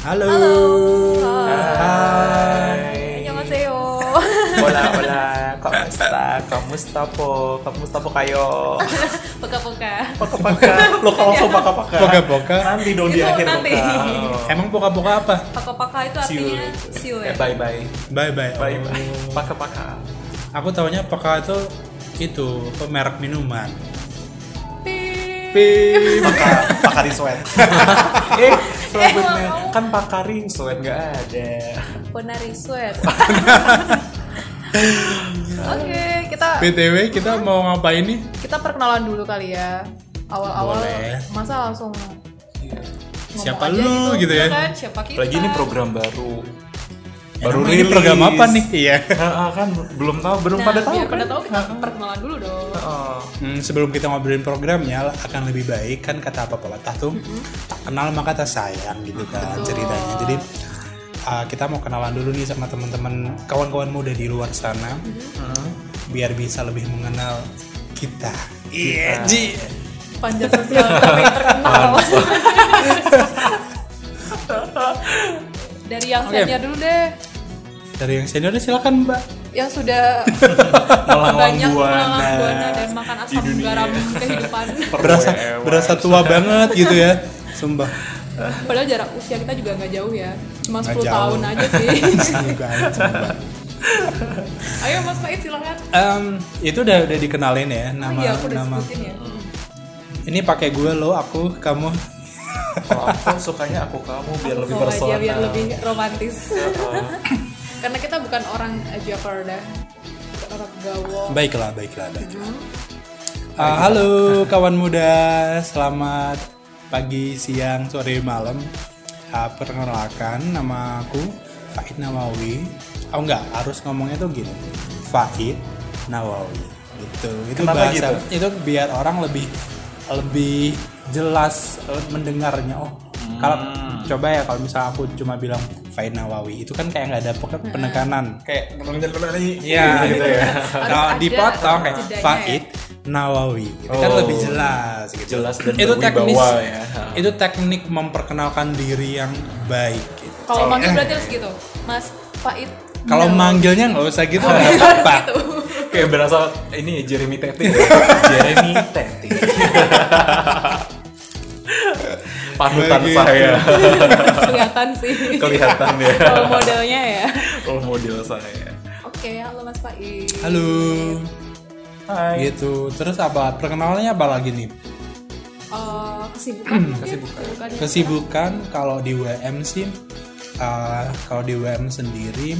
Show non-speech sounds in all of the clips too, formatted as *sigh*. Halo. Halo. Hai. 안녕하세요. Hola, hola. Kamusta? Kamusta po? Kamusta po kayo? Poka-poka. *laughs* Paka-paka. Lo kalau so paka-paka. Poka-poka. Nanti dong di Itu akhir. nanti. Paka. Emang poka-poka apa? Poka-poka itu See you artinya later. see you Eh, later. bye-bye. Bye bye. Bye-bye. Paka-paka. Aku taunya poka itu itu apa, merek minuman. Pip. *laughs* Pip. Paka, paka di *laughs* sweat. eh, Eh, sweat buat mau. Mel. Kan paka ring sweat nggak ada. Ponari sweat. Oke, kita PTW kita mau ngapain nih? kita perkenalan dulu kali ya. Awal-awal Boleh. masa langsung ngomong Siapa aja lu gitu ya? kan? Siapa Iya. kita? Lagi ini program baru. Baru Emang ini rilis. program apa *laughs* nih? Iya. Ah, ah, kan belum tahu, belum Nah, pada tahu. biar kan? Nah. pada tahu kita perkenalan dulu dong. Heeh. Hmm, sebelum kita ngobrolin programnya akan lebih baik kan kata apa pepatah tuh tak kenal maka tak sayang gitu kan ceritanya. Jadi uh, kita mau kenalan dulu nih sama teman-teman kawan-kawan muda di luar sana Heeh. biar bisa lebih mengenal kita. Kita. Iya. Ji. Panjat sosial tapi terkenal. *laughs* Dari yang Oke. senior dulu deh. Dari yang senior silakan Mbak. yang *laughs* sudah Melanglang banyak buana. melalang buana dan makan Nah, Di asam dunia. garam kehidupan *laughs* berasa Perwewan. berasa tua banget gitu ya sumpah padahal jarak usia kita juga nggak jauh ya cuma Nggak 10 jauh. tahun aja sih *laughs* Juga, sumpah. ayo mas Faiz silahkan Em, itu udah udah dikenalin ya oh nama iya aku udah nama sebutin ya ini pakai gue lo aku kamu Kalau aku kan sukanya aku kamu Aku biar lebih Nah, bawa ah. personal. aja Oh, iya, biar lebih romantis Heeh. karena kita bukan orang eh, Jakarta Bukan orang gawong baiklah baiklah baiklah Eh, halo kawan muda selamat pagi siang sore malam Eh, perkenalkan nama aku Fahid Nawawi oh enggak harus ngomongnya tuh gini Fahid Nawawi gitu itu Kenapa bahasa gitu? itu biar orang lebih lebih jelas eh, mendengarnya oh kalau Hmm. coba ya kalau misalnya aku cuma bilang Faid Nawawi itu kan kayak nggak ada pe- Hmm. penekanan Kayak ngomong-ngomong Iya gitu ya. Kalau ada dipotong kayak jedanya ya. Faid Nawawi itu kan Oh. lebih jelas gitu. Jelas dan itu berwibawa teknis ya. itu teknik memperkenalkan diri yang baik gitu. kalau manggil berarti harus gitu mas Faiz Kalau manggilnya nggak usah gitu nggak *laughs* apa-apa. Kayak berasa ini Jeremy Teti. ya. Jeremy Teti. *laughs* Panutan Bagi- *laughs* saya kelihatan sih Nah. *laughs* kelihatan ya. kalau modelnya ya Role model saya. oke halo mas Faiz Halo. Hai. Gitu. Terus apa perkenalannya apa lagi nih? Eh, *clears throat* kesibukan mungkin kesibukan Kesibukan kalau di WM sih eh, kalau di WM sendiri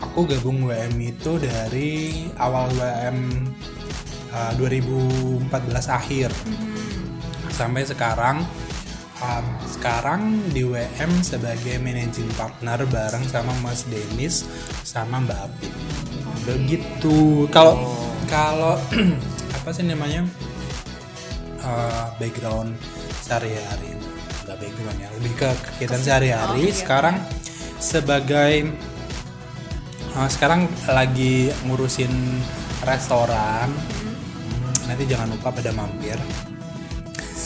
aku gabung WM itu dari awal WM eh, 2014 akhir. sampai sekarang um, sekarang di WM sebagai managing partner bareng sama Mas Denis sama Mbak Apit begitu kalau kalau *clears throat* apa sih namanya uh, background sehari-hari nggak background ya lebih ke kegiatan sehari-hari iya. sekarang sebagai uh, sekarang lagi ngurusin restoran Hmm, nanti jangan lupa pada mampir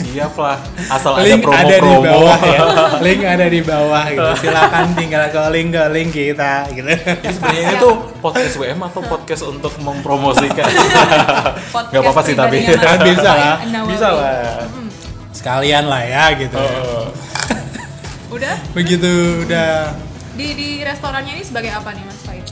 Siap lah. Asal ada link ada, di promo-promo. bawah *laughs* ya link ada di bawah gitu silakan tinggal ke link ke link kita *laughs* gitu Jadi Sebenarnya ini tuh podcast WM atau podcast untuk *laughs* mempromosikan. Podcast Gak apa-apa sih tapi. pribadinya Mas *laughs* Bisa Faiz lah, Nawawi. Bisa lah. sekalian lah ya gitu Oh. udah begitu udah di di restorannya ini sebagai apa nih mas Faiz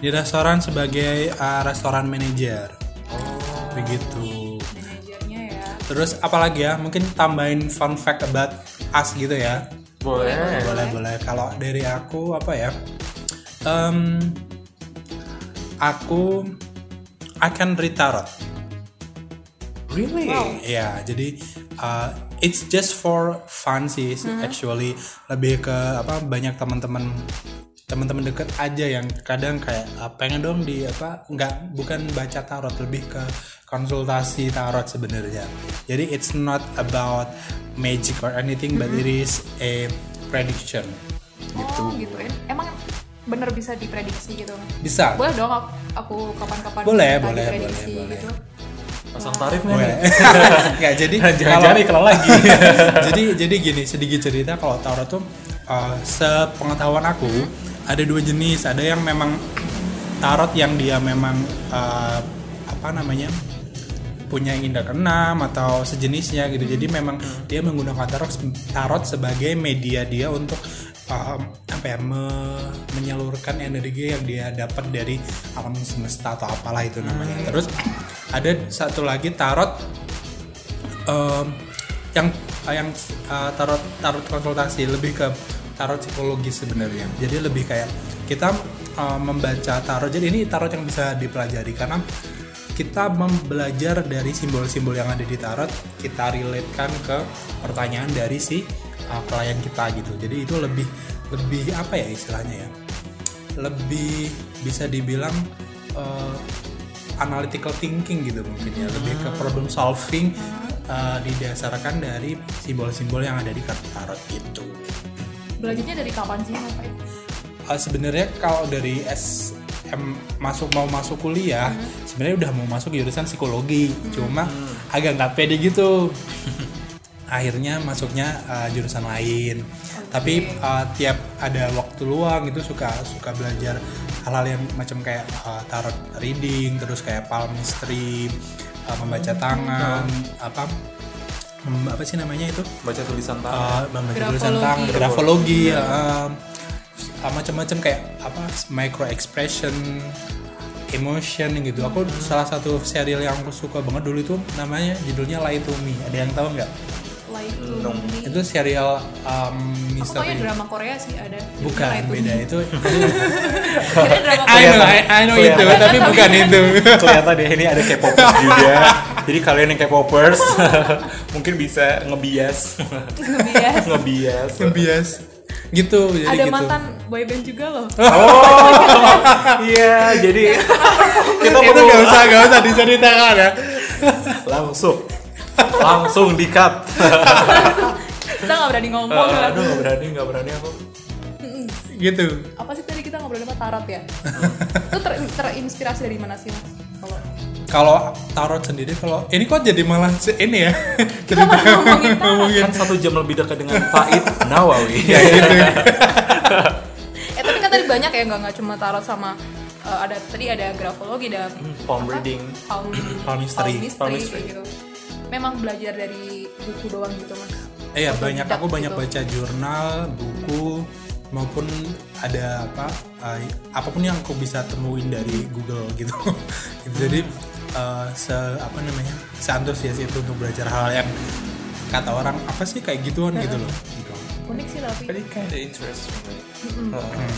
di restoran sebagai uh, restoran manager Oh. begitu manajernya ya terus apalagi ya mungkin tambahin fun fact about us gitu ya Boleh. boleh boleh kalau dari aku apa ya Em, aku akan read tarot Really? Ya, jadi uh, it's just for fun sih actually lebih ke apa banyak teman-teman teman-teman deket aja yang kadang kayak uh, pengen dong di apa nggak bukan baca tarot lebih ke konsultasi tarot sebenarnya. Jadi it's not about magic or anything but it is a prediction. oh gitu ya emang bener bisa diprediksi gitu Bisa. boleh dong aku, aku kapan-kapan Boleh, minta boleh, diprediksi boleh, boleh. gitu Pasang tarif nggak *laughs* Boleh. nih? Nggak jadi Jangan-jangan kalau- iklan lagi. jadi jadi gini sedikit cerita kalau tarot tuh eh, sepengetahuan aku ada dua jenis ada yang memang tarot yang dia memang eh, apa namanya punya indra keenam atau sejenisnya gitu jadi memang dia menggunakan tarot tarot sebagai media dia untuk eh, apa ya me- menyalurkan energi yang dia dapat dari alam semesta atau apalah itu namanya terus ada satu lagi tarot Em, yang yang eh, tarot tarot konsultasi lebih ke tarot psikologis sebenarnya jadi lebih kayak kita eh, membaca tarot jadi ini tarot yang bisa dipelajari karena kita mem- belajar dari simbol-simbol yang ada di tarot kita relatekan ke pertanyaan dari si eh, klien kita gitu jadi itu lebih lebih apa ya istilahnya ya lebih bisa dibilang eh, analytical thinking gitu mungkin ya lebih ke problem solving eh, didasarkan dari simbol-simbol yang ada di kartu tarot itu Belajarnya dari kapan sih ngapain? Eh, sebenarnya kalau dari SM masuk mau masuk kuliah sebenarnya udah mau masuk jurusan psikologi cuma agak nggak pede gitu *laughs* akhirnya masuknya eh, jurusan lain tapi eh, tiap ada waktu luang itu suka suka belajar hal-hal yang macam kayak eh, tarot reading terus kayak palmistry eh, membaca tangan apa mem- apa sih namanya itu baca tulisan uh, tangan membaca tulisan Grafologi. tangan grafologi ya, um, uh, macam-macam kayak apa micro expression emotion gitu aku Hmm. salah satu serial yang aku suka banget dulu itu namanya judulnya Lie to Me ada yang tahu nggak Iya. Light to Nung. Me. Hmm. itu serial um, Aku taunya misteri drama Korea sih ada. bukan Light to Me. beda *laughs* itu Kira drama I know I, I know itu Kelihatan. tapi *laughs* bukan itu kelihatan deh ini ada K-popers *laughs* juga jadi kalian yang K-popers *laughs* mungkin bisa ngebias Korea. ngebias bias gitu jadi Ada gitu mantan boyband juga *laughs* loh. oh iya jadi kita itu perlu nggak usah nggak usah diceritakan ya langsung langsung di cut Kita nggak berani ngomong. aduh nggak berani nggak berani aku gitu Apa sih tadi kita ngobrolin apa tarot ya? Itu ter- terinspirasi dari mana sih mas? Kalau kalau tarot sendiri kalau ini kok jadi malah se- ini ya *laughs* jadi malah ngomongin tarot. kan satu jam lebih dekat dengan Faid Nawawi ya gitu eh tapi kan tadi banyak ya nggak nggak cuma tarot sama eh, ada tadi ada grafologi ada palm apa? reading. palm Palmistry. palmistry, Palmistry. kayak gitu memang belajar dari buku doang gitu mas iya Atau banyak kitab aku banyak gitu. baca jurnal buku maupun ada apa eh, apapun yang aku bisa temuin dari Google gitu *laughs* Gitu, jadi eh, Hmm. se apa namanya seantusias itu untuk belajar hal yang kata orang apa sih kayak gituan gitu loh Gitu. unik sih tapi But it kinda interesting kan right?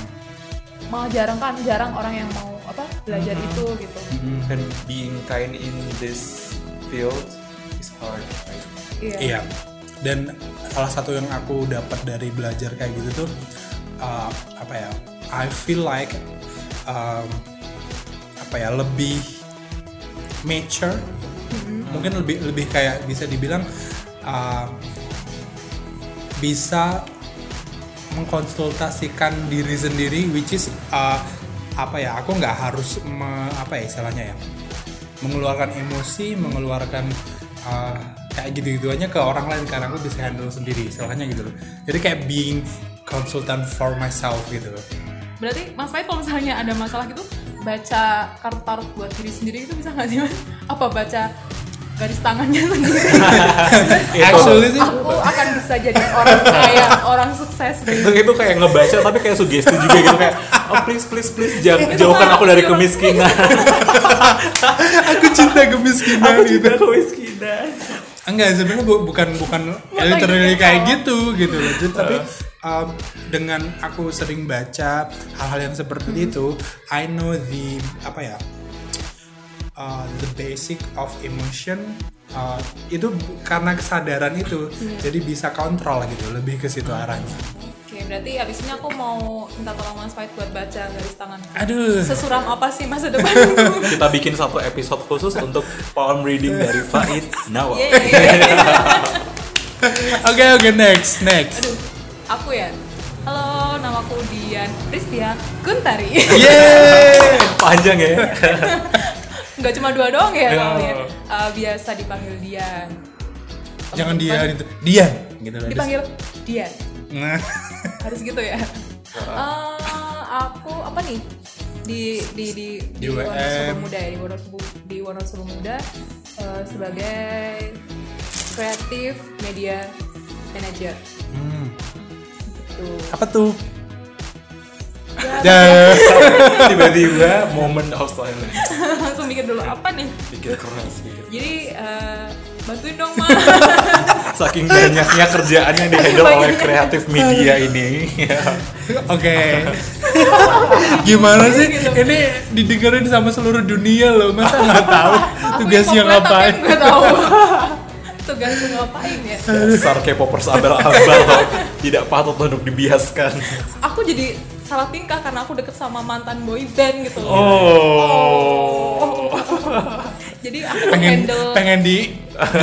malah jarang kan jarang orang yang mau apa belajar itu gitu Uh, and being kind in this field is hard right? iya Iya. Dan salah satu yang aku dapat dari belajar kayak gitu tuh uh, apa ya? I feel like um, apa ya lebih mature, mungkin lebih lebih kayak bisa dibilang uh, bisa mengkonsultasikan diri sendiri, which is uh, apa ya? Aku nggak harus me- apa ya istilahnya ya? mengeluarkan emosi, mengeluarkan uh, kayak gitu-gituannya ke orang lain karena aku bisa handle sendiri, istilahnya gitu loh. Jadi kayak being consultant for myself gitu loh. berarti mas Faid kalau misalnya ada masalah gitu baca kartu tarot buat diri sendiri itu bisa nggak sih mas apa baca garis tangannya sendiri Actually sih, aku akan bisa jadi orang kaya orang sukses dari itu, itu kayak ngebaca tapi kayak sugesti juga gitu kayak oh please please please jauh- Itu kan jauhkan malah aku dari jauh- kemiskinan aku cinta kemiskinan gitu. kemiskinan Enggak sebenarnya bu- bukan bukan Makanya literally dia kayak salah. gitu gitu loh. Jadi, tapi um, dengan aku sering baca hal-hal yang seperti Mm-hmm. itu, I know the apa ya uh, the basic of emotion uh, itu bu- karena kesadaran itu Iya. jadi bisa kontrol gitu lebih ke situ arahnya *laughs* Oke, berarti abis ini aku mau minta tolong Mas Faid buat baca garis tangan. aduh Sesuram apa sih *laughs* masa depanku? kita bikin satu episode khusus untuk palm reading dari Nah, Faid Iya, Nawawi Yeay. oke oke next next Aduh, aku ya. Halo, namaku Dian Pristia Kuntari. yeay panjang ya *laughs* Nggak cuma dua doang ya Iya. soalnya. Eh, biasa dipanggil Dian. jangan dia itu dia gitu loh. Dipanggil Dian. Nah. harus gitu ya Eh, aku apa nih di di di Di Wonosobo WM. Muda ya di Wonosobo di Wonosobo Muda eh, sebagai kreatif media manager Hmm, gitu apa tuh? *laughs* ya, tiba-tiba moment of silence *laughs* langsung mikir dulu apa nih bikin keras gitu jadi eh, bantuin dong *laughs* mah saking banyaknya kerjaan yang dihandle oleh kreatif media ini ya. Oke. Gimana sih? Gitu. Ini didengerin sama seluruh dunia loh. Masa nggak tahu Aku tugasnya yang ngapain? komplain tapi nggak tahu *laughs* tugasnya ngapain ya dasar K-popers abal-abal tidak patut untuk dibiaskan aku jadi salah tingkah karena aku deket sama mantan boy band gitu loh oh jadi aku Pengen handle Iya, pengen *laughs* di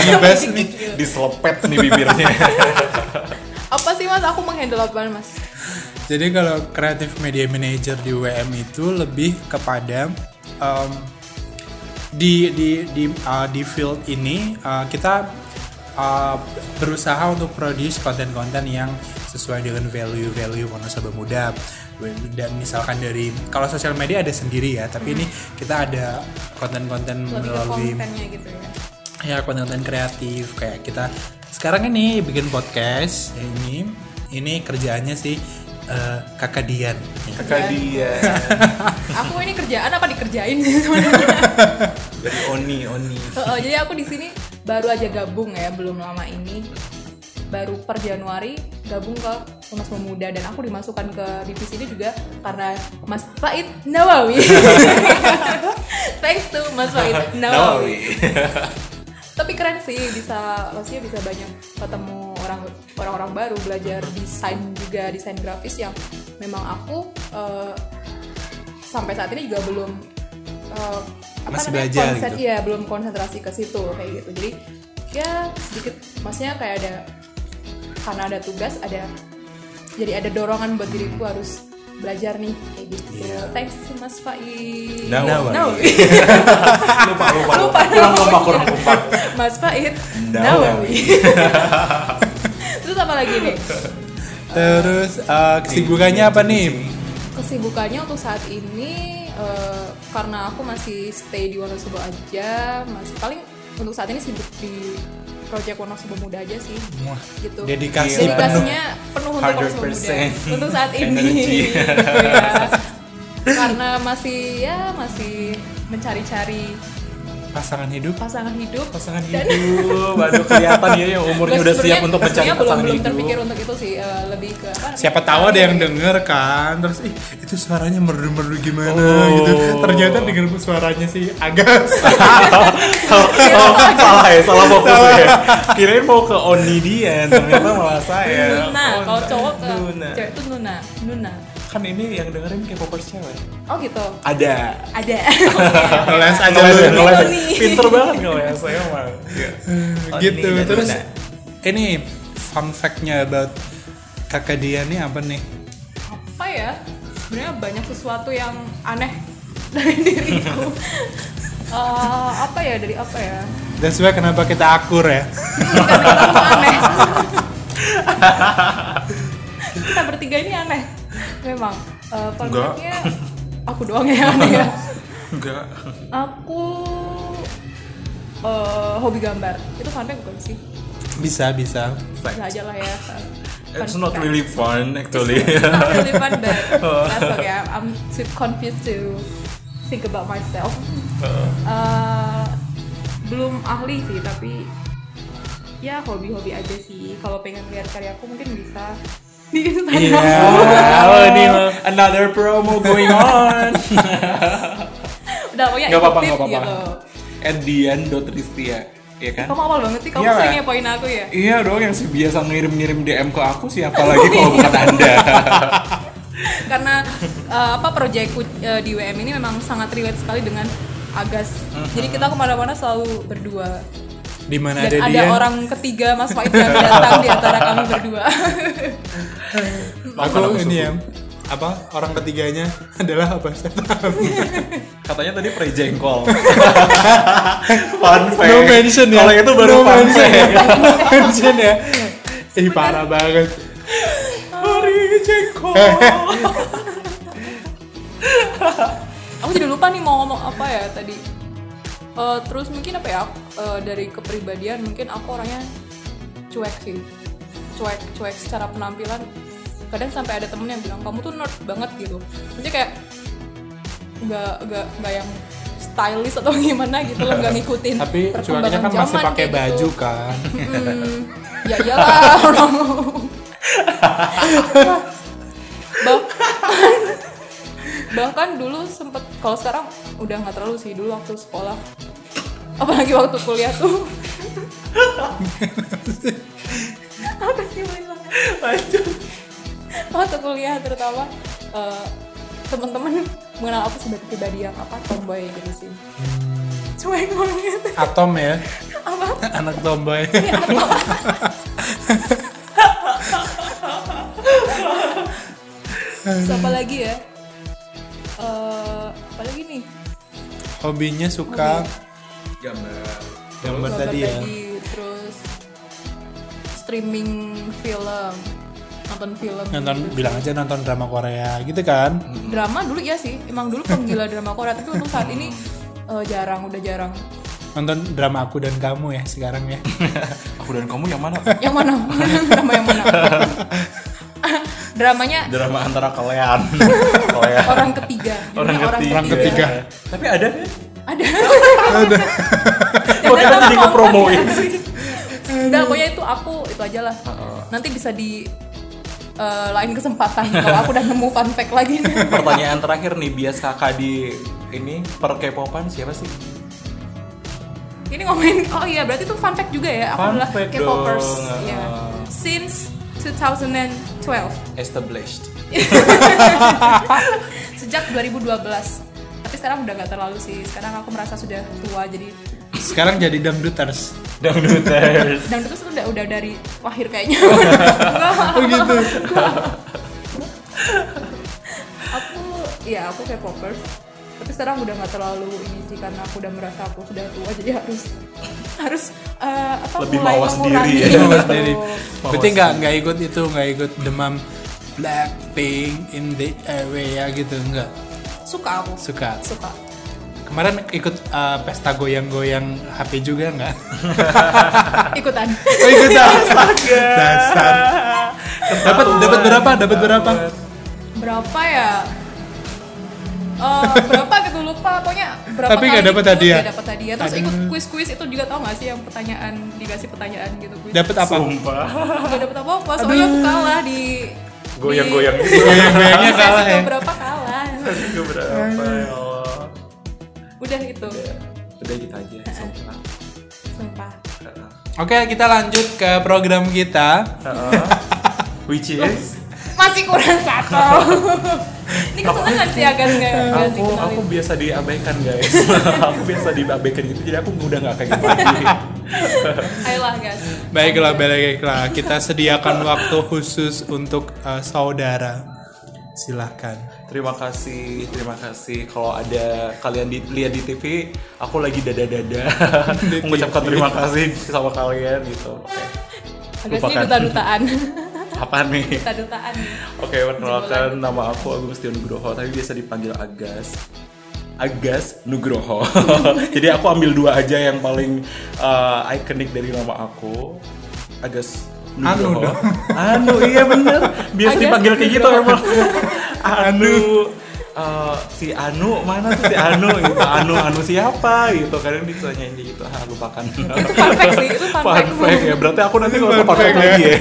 di best nih. diselepet nih bibirnya gitu. apa sih mas aku menghandle apaan mas Jadi kalau kreatif media manager di WM itu lebih kepada em, di di di uh, di field ini uh, kita uh, berusaha untuk produce konten-konten yang sesuai dengan value-value Wonosobo Muda dan misalkan dari kalau sosial media ada sendiri ya tapi ini kita ada konten-konten Hmm. lebih ke melalui kontennya gitu ya ya konten-konten kreatif kayak kita sekarang ini bikin podcast ini ini kerjaannya sih eh, kakak Dian ya. kakak dia aku ini kerjaan apa dikerjain *laughs* sih sebenarnya dari Oni Oni Heeh, jadi aku di sini baru aja gabung ya belum lama ini baru per Januari gabung ke Unas Pemuda dan aku dimasukkan ke divisi ini juga karena Mas Faid *laughs* Nawawi. Thanks to Mas Faid Nawawi. Nawawi tapi keren sih bisa maksudnya bisa banyak ketemu orang orang orang baru belajar desain juga desain grafis yang memang aku eh, sampai saat ini juga belum eh, Masih belajar konsen- gitu. iya belum konsentrasi ke situ kayak gitu jadi ya sedikit maksudnya kayak ada karena ada tugas ada jadi ada dorongan buat diriku harus belajar nih kayak gitu Iya. thanks to Mas Faiz Nawawi. Nawawi. lupa lupa Lupa kurang namanya. kompak *laughs* kurang kompak Mas Fahid Nawawi. Nawawi Terus apa lagi nih? terus eh, kesibukannya apa nih Kesibukannya untuk saat ini eh, Karena aku masih stay di Wonosobo aja Masih paling untuk saat ini sibuk di Project Wonosobo Muda aja sih Wah, gitu dedikasi Gila. penuh dedikasinya penuh untuk orang Sumba 100% Muda. untuk saat *laughs* energi. ini Ya. karena masih ya masih mencari-cari pasangan hidup pasangan hidup pasangan hidup aduh kelihatan dia yang umurnya udah siap Sebenarnya- untuk mencari sebenarnya pasangan belum, belum terpikir *laughs* hidup untuk itu sih eh, lebih ke apa namanya? siapa tahu ada yang denger kan terus ih itu suaranya merdu-merdu gimana Oh. gitu ternyata denger suaranya sih *laughs* Agas Oh, oh, salah ya salah fokus ya kirain mau ke Oni dia ternyata malah saya Nuna Oh, kalau cowok ke Nuna. cewek itu Nuna Nuna kan ini yang dengerin K-popers cewek oh gitu ada *laughs* ada les aja Oh, ngeles ya, lu. ngeles. Itu nih. pinter banget ngeles saya mah gitu terus ini fun fact-nya about kakak Dian nih apa nih apa ya sebenarnya banyak sesuatu yang aneh dari *laughs* diriku Eh, apa ya dari apa ya That's why kenapa kita akur ya. karena kita semua *laughs* aneh kita bertiga ini aneh memang Eh, formatnya aku doang yang aneh ya *laughs* enggak aku eh, hobi gambar itu fanpage bukan sih Bisa bisa. bisa aja lah ya it's not really fun actually not really fun *laughs* but that's okay I'm too confused to think about myself Uh. Eh, belum ahli sih tapi ya hobi-hobi aja sih kalau pengen lihat karya aku mungkin bisa di Iya. Instagram Iya. wow ini another promo going on *laughs* udah pokoknya Nggak apa-apa, ikut nggak tips apa-apa. gitu. at Dian dot Ristia ya kan kamu awal banget sih kamu Iya, sering Mbak. ngepoin aku ya iya dong yang biasa ngirim-ngirim DM ke aku siapa lagi kalau bukan anda karena eh, apa proyekku eh, di WM ini memang sangat relate sekali dengan Agas jadi kita kemana-mana selalu berdua Di mana dan ada, ada, Dian? orang ketiga Mas Faid yang datang di antara kami berdua *laughs* Aku Orang ini suku. ya. Apa orang ketiganya *laughs* adalah apa? katanya tadi pre jengkol *laughs* fun fact no mention ya. kalau itu baru *laughs* no fun mention fact ya. no mention ya. Ih parah banget. Hari ini *laughs* aku jadi lupa nih mau ngomong apa ya tadi Eh, terus mungkin apa ya eh, dari kepribadian mungkin aku orangnya cuek sih cuek cuek secara penampilan kadang sampai ada temen yang bilang kamu tuh nerd banget gitu maksudnya kayak nggak nggak nggak yang stylish atau *laughs* gimana gitu loh nggak ngikutin Tapi cuannya kan perkembangan masih zaman pakai kayak baju gitu. kan. Hmm, ya iyalah *laughs* orang mau. bahkan bahkan dulu sempet kalau sekarang udah nggak terlalu sih dulu waktu sekolah apalagi waktu kuliah tuh apa sih bilang waktu kuliah terutama eh, temen-temen mengenal aku sebagai pribadi yang apa tomboy gitu sih cuek banget Atom ya, *laughs* apa anak tomboy. Terus apa Hmm. lagi ya? Eh, apa lagi nih? Hobinya suka gambar gambar Gambar tadi ya. tadi, terus streaming film, nonton film. Nonton bilang aja nonton drama Korea gitu kan. Drama dulu ya sih, emang dulu penggila drama Korea, tapi untuk saat ini eh, jarang, udah jarang. Nonton drama aku dan kamu ya sekarang ya. aku dan kamu yang mana Yang mana? *laughs* drama yang *laughs* mana? Dramanya drama antara *laughs* kalian kalian orang ketiga. orang Judulnya ketiga. orang ketiga. tapi ada kan Ada. *laughs* Kok kita jadi ngepromoin Udah, pokoknya itu aku itu aja lah. Nanti bisa di eh, lain kesempatan kalau aku udah nemu fun fact lagi. *laughs* pertanyaan terakhir nih bias kakak di ini per K-popan siapa sih Ini ngomongin oh iya berarti itu fun fact juga ya. Aku Fun adalah fact K-popers. dong. Iya. Since 2012 established sejak 2012. Tapi sekarang udah nggak terlalu sih. Sekarang aku merasa sudah tua jadi Sekarang jadi dangduters. dangduters dan itu sudah udah dari lahir kayaknya. *laughs* Enggak. Oh gitu. aku ya aku kayak popers tapi sekarang udah nggak terlalu ini sih karena aku udah merasa aku sudah tua jadi harus harus eh, apa Lebih mulai mawas mengurangi diri ya. gitu. Mawas diri. Mawas Iya, Berarti nggak nggak ikut itu nggak ikut demam Blackpink in the area gitu nggak suka aku suka. suka Kemarin ikut uh, pesta goyang-goyang HP juga nggak? ikutan *laughs* Oh ikut Dasar. Dapat dapat berapa? Dapat berapa? berapa ya Eh, berapa gitu lupa pokoknya berapa Tapi nggak kali dapat ikut, hadiah. nggak dapat hadiah terus Aduh. ikut kuis kuis itu juga tau gak sih yang pertanyaan dikasih pertanyaan gitu kuis Dapat apa? sumpah nggak dapat apa apa soalnya aku kalah di goyang-goyang di, gitu *laughs* Goyang-goyangnya di kalah sesi ya. keberapa kalah Itu berapa ya Allah udah itu udah gitu aja sumpah sumpah Heeh. Oke, kita lanjut ke program kita. Heeh. which is masih kurang *laughs* satu ini kesenangan sih agak nggak nggak aku aku dikenalin biasa diabaikan guys *laughs* aku biasa diabaikan gitu jadi aku udah nggak kayak gitu lagi ayolah guys Baiklah, baiklah. Kita sediakan waktu khusus untuk uh, saudara. Silahkan. *laughs* terima kasih terima kasih kalau ada kalian di, lihat di TV aku lagi dada *laughs* dada Di mengucapkan TV. terima kasih sama kalian gitu oke agak sih Lupakan. duta-dutaan *laughs* apa nih duta-dutaan nih. Oke, perkenalkan nama aku Agus Tio Nugroho, tapi biasa dipanggil Agas. Agas Nugroho. *laughs* Jadi aku ambil dua aja yang paling uh, ikonik dari nama aku. Agas Anu Nugroho. dong. *laughs* Anu, iya bener. Biasa Agas dipanggil kayak gitu Nugroho. emang. Anu. Uh, si Anu mana tuh si Anu gitu Anu Anu siapa gitu kadang ditanyain kayak gitu ah lupakan itu fun fact sih itu fun fun fact fact ya berarti aku nanti Itu nggak usah fun pakai fact lagi ya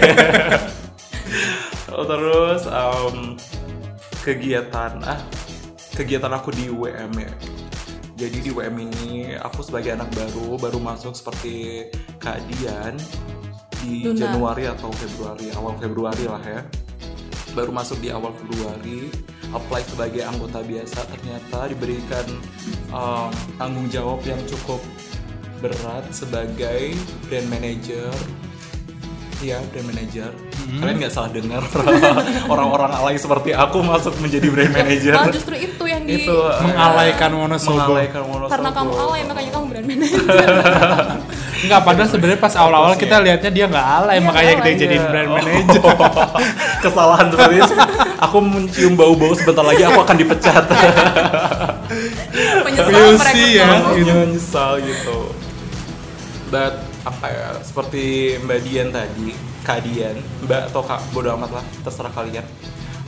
Oh, terus em, kegiatan ah kegiatan aku di WM ya. Jadi di WM ini aku sebagai anak baru baru masuk seperti Kak Dian di Luna. Januari atau Februari awal Februari lah ya. Baru masuk di awal Februari apply sebagai anggota biasa ternyata diberikan em, tanggung jawab yang cukup berat sebagai brand manager Iya, brand manager. Hmm. Kalian nggak salah dengar *laughs* orang-orang alay seperti aku masuk menjadi brand manager. Malah justru itu yang di Itu eh, Mengalaikan Wonosobo. mengalaikan Wonosobo. *laughs* karena kamu alay makanya kamu brand manager Enggak, padahal sebenarnya pas awal-awal kita lihatnya dia nggak alay, Iya, makanya kita alay. jadiin Iya. brand Oh. manager. *laughs* Kesalahan seperti itu. Aku mencium bau-bau sebentar lagi aku akan *laughs* dipecat. Menyesal Tapi merekrut sih ya. kamu. gitu. nyesal gitu. Dan apa ya, seperti Mbak Dian tadi, Kak Dian, Mbak atau Kak, bodo amat lah, terserah kalian.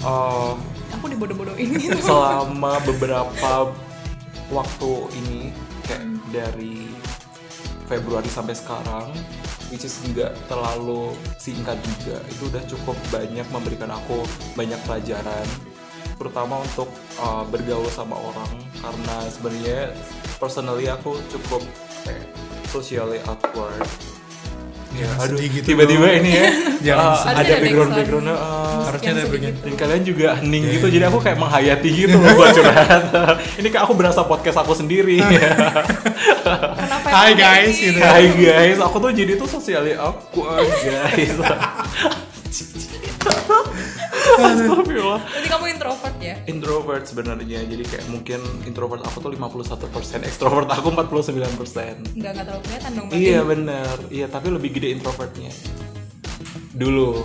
Eh, Aku dibodoh-bodohin *laughs* gitu. selama beberapa waktu ini kayak dari Februari sampai sekarang which is nggak terlalu singkat juga itu udah cukup banyak memberikan aku banyak pelajaran terutama untuk uh, bergaul sama orang karena sebenarnya personally aku cukup eh, socially awkward ya Jangan aduh sedih gitu tiba-tiba dong. ini ya *laughs* Jangan uh, sedih. ada Harusnya ada background background. background uh, Harusnya ada Yang begini. sedikit. dan kalian juga hening gitu, jadi aku kayak menghayati gitu loh buat *laughs* curhat. Ini kayak aku berasa podcast aku sendiri. Kenapa Hai, emang guys, ini? gitu. *laughs* Hai guys, aku tuh jadi tuh sosialnya aku ah, *laughs* guys. Astagfirullah. Berarti kamu introvert ya? Introvert sebenarnya, jadi kayak mungkin introvert aku tuh 51%, ekstrovert aku Enggak enggak 49%. terlalu kelihatan dong berarti. Iya bener, iya tapi lebih gede introvertnya. Dulu,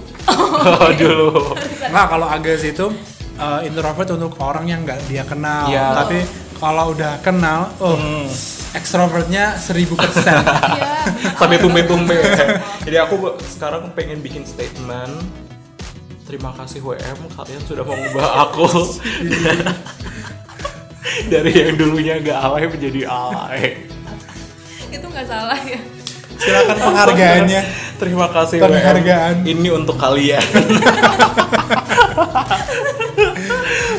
dulu. Nggak, kalau Agas itu eh, introvert untuk orang yang nggak dia kenal. Iya. Tapi kalau udah kenal, oh, ekstrovertnya 1000%. persen. *laughs* *laughs* Iya. bener. sampai tumbe-tumbe. Jadi aku sekarang pengen bikin statement. Terima kasih WM kalian sudah mengubah aku *laughs* dari yang dulunya gak alay menjadi alay. Itu enggak salah ya. Silakan penghargaannya. Terima kasih Penghargaan. WM. Ini untuk *laughs* kalian.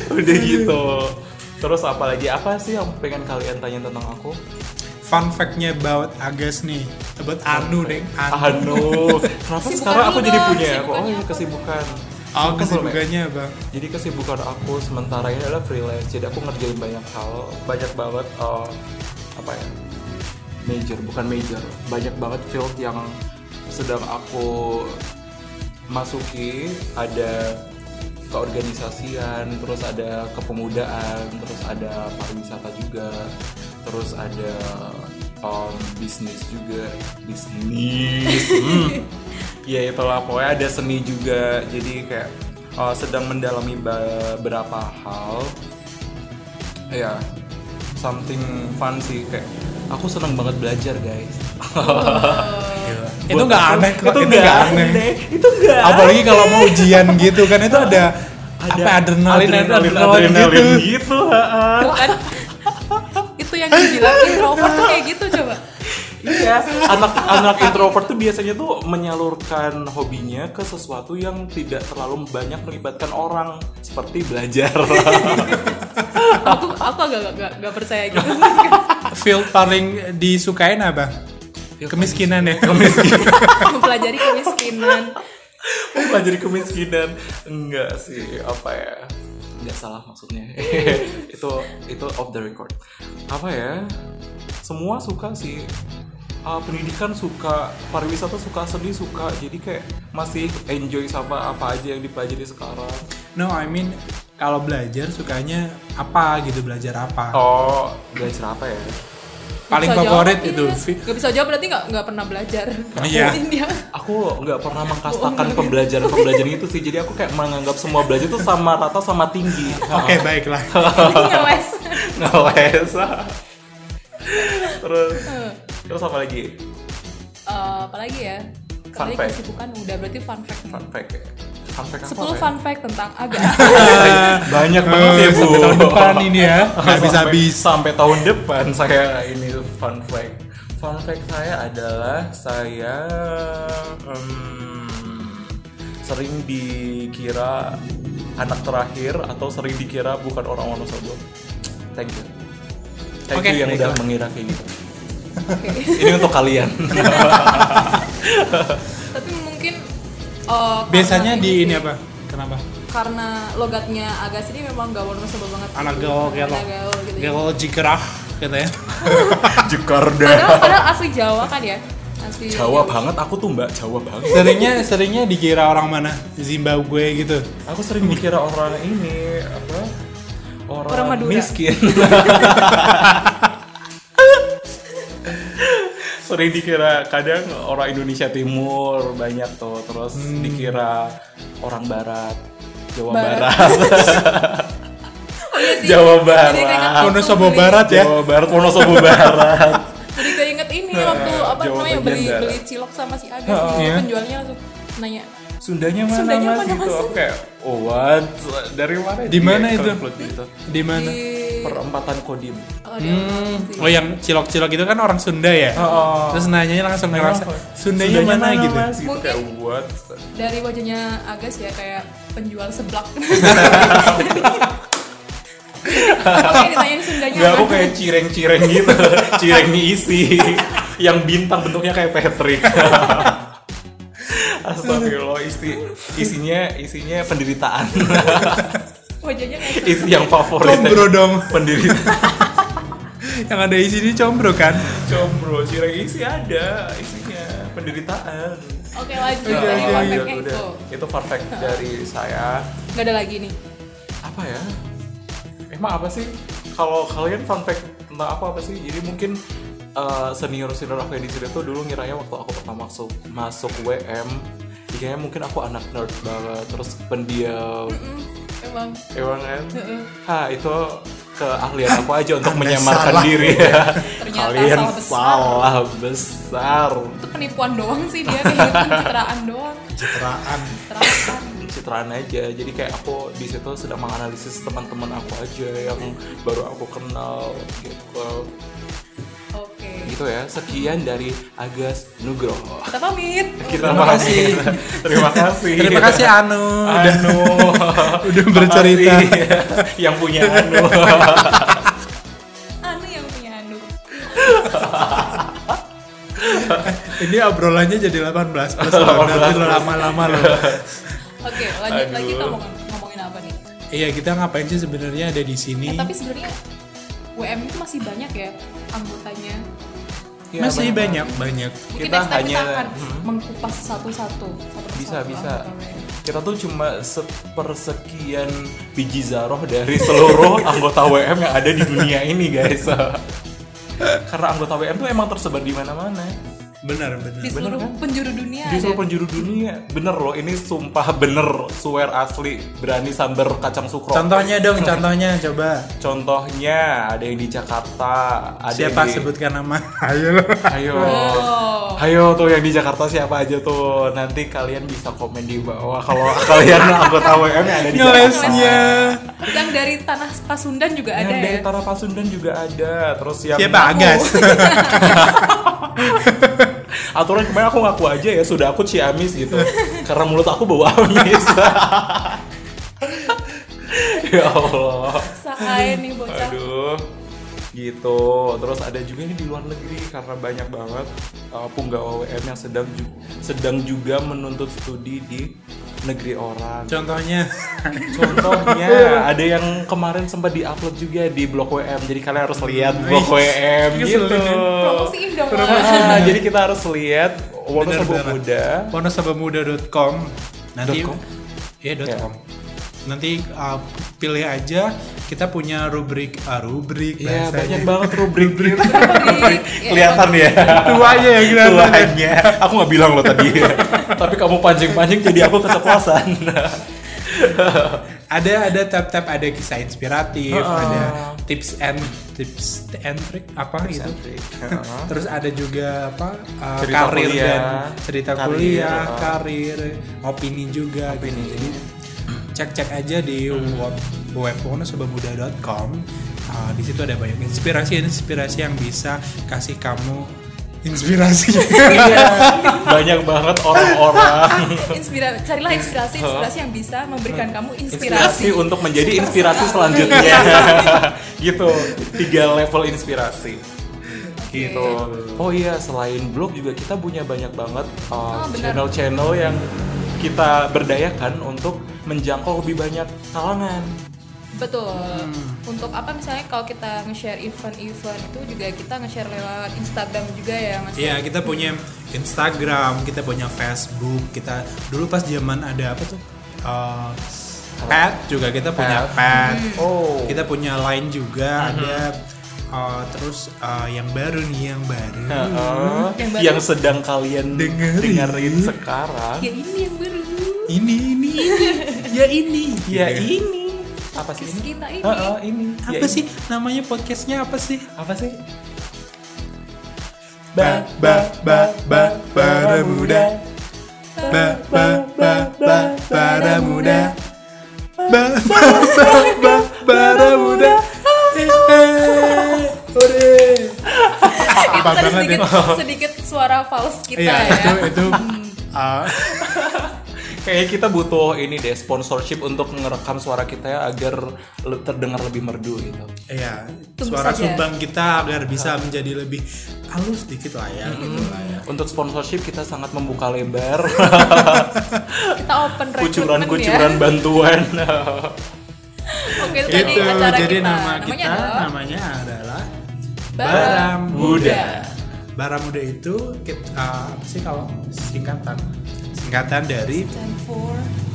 Udah gitu. Terus apalagi apa sih yang pengen kalian tanya tentang aku? Fun fact-nya about Agas nih, about Anu deh, Anu. Anu, kenapa Kesibukan sekarang aku lu jadi dong, punya aku? Oh kesibukannya iya apa? kesibukan. Oh, Kesibukan belum ya? kesibukannya bang. Jadi kesibukan aku sementara ini adalah freelance. Jadi aku ngerjain banyak hal, banyak banget eh, apa ya? Major, bukan major. Banyak banget field yang sedang aku masuki. Ada keorganisasian, terus ada kepemudaan, terus ada pariwisata juga, terus ada em, Oh, bisnis juga, bisnis. *laughs* Hmm. ya itulah pokoknya ada seni juga jadi kayak uh, sedang mendalami beberapa hal ya something fun sih kayak aku senang banget belajar guys Gila. Buat Itu nggak aku, aneh kok, itu nggak aneh. itu nggak Apalagi kalau mau ujian gitu kan itu ada, apa adrenalin, adrenalin, adrenalin gitu. gitu, ha-ha. Tuh kan. *laughs* Itu yang dibilang introvert tuh kayak gitu coba. iya anak anak introvert tuh biasanya tuh menyalurkan hobinya ke sesuatu yang tidak terlalu banyak melibatkan orang seperti belajar *laughs* Aku aku agak agak- agak enggak percaya gitu. *laughs* Field paling disukain apa? Kemiskinan ya. Mempelajari kemiskinan. mempelajari kemiskinan enggak sih apa ya nggak salah maksudnya *laughs* itu itu off the record apa ya semua suka sih Ah, pendidikan suka pariwisata suka seni suka jadi kayak masih enjoy sama apa aja yang dipelajari sekarang *laughs* No, I mean kalau belajar sukanya apa gitu belajar apa? oh belajar apa ya Paling Bisa jawab favorit ini, ya? itu. Mas. Nggak bisa jawab berarti nggak nggak pernah belajar. *laughs* Iya. Dia aku nggak pernah mengkastakan pembelajaran pembelajaran itu sih jadi aku kayak menganggap semua belajar itu sama rata sama tinggi Oke *laughs* baiklah. *laughs* ngeles. ngeles terus terus apa lagi Eh, apalagi ya? Fun Kembali fact. kesibukan udah berarti fun fact. fun fact ya? fun fact 10 apa ya? fun fact tentang *laughs* agak *laughs* banyak banget ya Eh, bu sampai tahun depan ini *laughs* ya. Nggak bisa Sampai- habis. sampai tahun depan saya ini fun fact fun fact saya adalah saya em, sering dikira anak terakhir atau sering dikira bukan orang Wonosobo thank you thank Oke, you yang udah baiklah. mengira kayak gitu ini untuk kalian *laughs* tapi mungkin eh, Biasanya karena di sih, ini apa? Kenapa? karena logatnya Agas ini memang gak wonosobo banget Anak gitu. gaul gitu. Anak gaul gitu ya. Gaul jigerah gitu ya. Jakarta padahal, padahal asli Jawa kan ya asli Jawa banget aku tuh mbak Jawa banget Seringnya seringnya dikira orang mana? Zimbabwe gitu. aku sering dikira orang ini apa orang, Orang *laughs* Madura. miskin sering dikira kadang orang Indonesia Timur banyak tuh terus Hmm. dikira orang Barat Jawa Barat. Barat, *laughs* Oh, iya sih. Jawa Barat Jadi keinget waktu Wonosobo beli- Barat ya. Jawa Barat Wonosobo Barat Jadi keinget ini waktu apa Nah, Jawa namanya bagian beli barat. beli cilok sama si Agus Oh, nih, iya. penjualnya langsung nanya Sundanya mana *laughs* Sundanya mas mana, gitu Mas? Aku kayak, oh what dari mana Di mana itu? itu Di mana? di perempatan Kodim oh, di Hmm, Oh iya. yang cilok-cilok itu kan orang Sunda ya. Oh, Terus nanyanya langsung ngerasa Sundanya, mana, gitu. mas? gitu Mungkin- kayak what dari wajahnya Agus ya kayak penjual *laughs* seblak. Makanya ditanyain Sundanya. Gak aku mana. kayak cireng-cireng gitu *laughs* Cireng mie isi *laughs* Yang bintang bentuknya kayak *laughs* Patrick Astagfirullah isi, isinya isinya penderitaan *laughs* Wajahnya kayak isi yang favorit Combro dong. *laughs* penderitaan Yang ada isi ini combro kan? combro cireng isi ada isinya penderitaan Oke lanjut Oke, oke, tadi fun iya, fact-nya udah. itu. itu fun fact dari saya Gak oh, ada lagi nih. apa ya emang apa sih kalau kalian fun fact tentang apa apa sih jadi mungkin eh, senior senior aku yang di sini tuh dulu ngiranya waktu aku pertama masuk masuk WM kayaknya mungkin aku anak nerd banget terus pendiam Emang. emang kan Heeh. ha itu keahlian aku aja untuk menyamarkan salah. diri ya. Ternyata kalian salah besar. salah besar Itu penipuan doang sih dia kayak gitu, pencitraan doang. Citraan. Terapkan. citraan aja jadi kayak aku di situ sedang menganalisis teman-teman aku aja yang Mm. baru aku kenal gitu Oke. gitu ya sekian dari Agas Nugroho Kita pamit. kita Terima kasih. pamit. *laughs* terima kasih Terima kasih Anu. Udah Iya. Anu *laughs* Udah bercerita. Makasih yang punya Anu Anu yang punya Anu. ini obrolannya jadi 18 *laughs* plus loh. Nanti lo lama-lama loh. Oke, lanjut Aduh. lagi kita mau ngomongin apa nih? Iya kita ngapain sih sebenarnya ada di sini? Eh, tapi sebenarnya WM itu masih banyak ya anggotanya. Ya, Iya, Masih benar-benar. banyak banyak. Mungkin Kita next time hanya- kita akan Hmm. mengkupas satu-satu. satu bisa persatu bisa anggota WM. kita tuh cuma sepersekian biji zaroh dari seluruh *laughs* anggota WM yang ada di dunia ini *laughs* guys karena anggota WM tuh emang tersebar di mana-mana Benar benar. Di seluruh kan? penjuru dunia di seluruh ada. penjuru dunia bener loh ini sumpah bener swear asli berani sambar kacang sukro Contohnya dong, contohnya coba. Contohnya ada yang di Jakarta, ada Siapa yang di... sebutkan nama? Ayo lo. Ayo. Oh. Ayo tuh yang di Jakarta siapa aja tuh. Nanti kalian bisa komen di bawah kalau kalian anggota WM yang ada di Ngelesnya. Yang dari tanah Pasundan juga Yang ada dari ya. Tanah Pasundan juga ada. Terus yang Siapa Agas? aturan kemarin aku ngaku aja ya sudah aku ciamis gitu. Karena mulut aku bau amis. *laughs* ya Allah. Sakai nih bocah. Aduh. Gitu. Terus ada juga nih di luar negeri karena banyak banget uh, punggawa WM yang sedang ju- sedang juga menuntut studi di negeri orang. *laughs* Contohnya. Contohnya ada yang kemarin sempat diupload juga di blog WM. Jadi kalian harus lihat blog WM gitu. Keselin ya. Promosiin dong. Mas. Ah, jadi kita harus lihat Wonosobo Benar-benar. Muda. Wonosobomuda.com. Nanti Dot com? Iya, dot Ya. com. Nanti uh, pilih aja kita punya rubrik ah, rubrik Iya, bahasanya. banyak banget rubrik Rubrik. Ya, kelihatan ya. Tuanya yang kelihatan. Tuanya. Aku nggak bilang lo tadi. *laughs* Tapi kamu pancing-pancing jadi aku keceplosan. Ada ada tab-tab ada kisah inspiratif, Heeh. ada tips and tips and trick apa Iya. gitu. *laughs* Terus ada juga apa uh, Cerita karir kuliah. dan cerita Karir, kuliah, uh. karir, opini juga. gitu. Jadi cek-cek aja di Hmm. web web wonosobamuda.com. Uh, di situ ada banyak inspirasi-inspirasi yang bisa kasih kamu *laughs* inspirasi. Banyak banget orang-orang Inspira carilah inspirasi inspirasi yang bisa memberikan kamu inspirasi inspirasi. untuk menjadi inspirasi *laughs* selanjutnya. gitu. Tiga level inspirasi. Gitu. Oh iya, selain blog juga kita punya banyak banget uh, Oh, benar. channel-channel yang kita berdayakan untuk menjangkau lebih banyak kalangan. Betul. Hmm. Untuk apa misalnya kalau kita nge-share event-event itu juga kita nge-share lewat Instagram juga ya Mas. Iya, kita punya Instagram, kita punya Facebook, kita dulu pas zaman ada apa tuh? Uh, pet juga kita punya pet. Oh. Kita punya line juga ada eh, terus eh, yang baru nih yang baru Heeh. Yang baru. yang sedang kalian Dengerin. dengerin sekarang ya ini yang baru ini ini ini ya ini ya Gitu. ini apa sih Podcast ini kita ini Heeh, ini Ya, apa ini. sih namanya podcastnya apa sih apa sih Ba- ba- ba- ba- para muda. ba ba ba ba para muda ba ba ba ba para muda Eh, eh, ore itu Apa tadi banget sedikit, ya? *laughs* sedikit suara fals kita iya ya itu itu ah, Kayaknya kita butuh ini deh sponsorship untuk ngerekam suara kita ya agar le- terdengar lebih merdu gitu. iya Tunggu suara saja. sumbang kita agar bisa menjadi lebih halus dikit lah ya gitu lah ya Untuk sponsorship kita sangat membuka lebar kita open recruitment kucuran-kucuran bantuan. *laughs* ya oke itu tadi itu acara Gitu. jadi nama kita namanya kita adalah namanya adalah Bara Muda. Baramuda itu kita, ah, apa sih kalau singkatan singkatan dari Stand for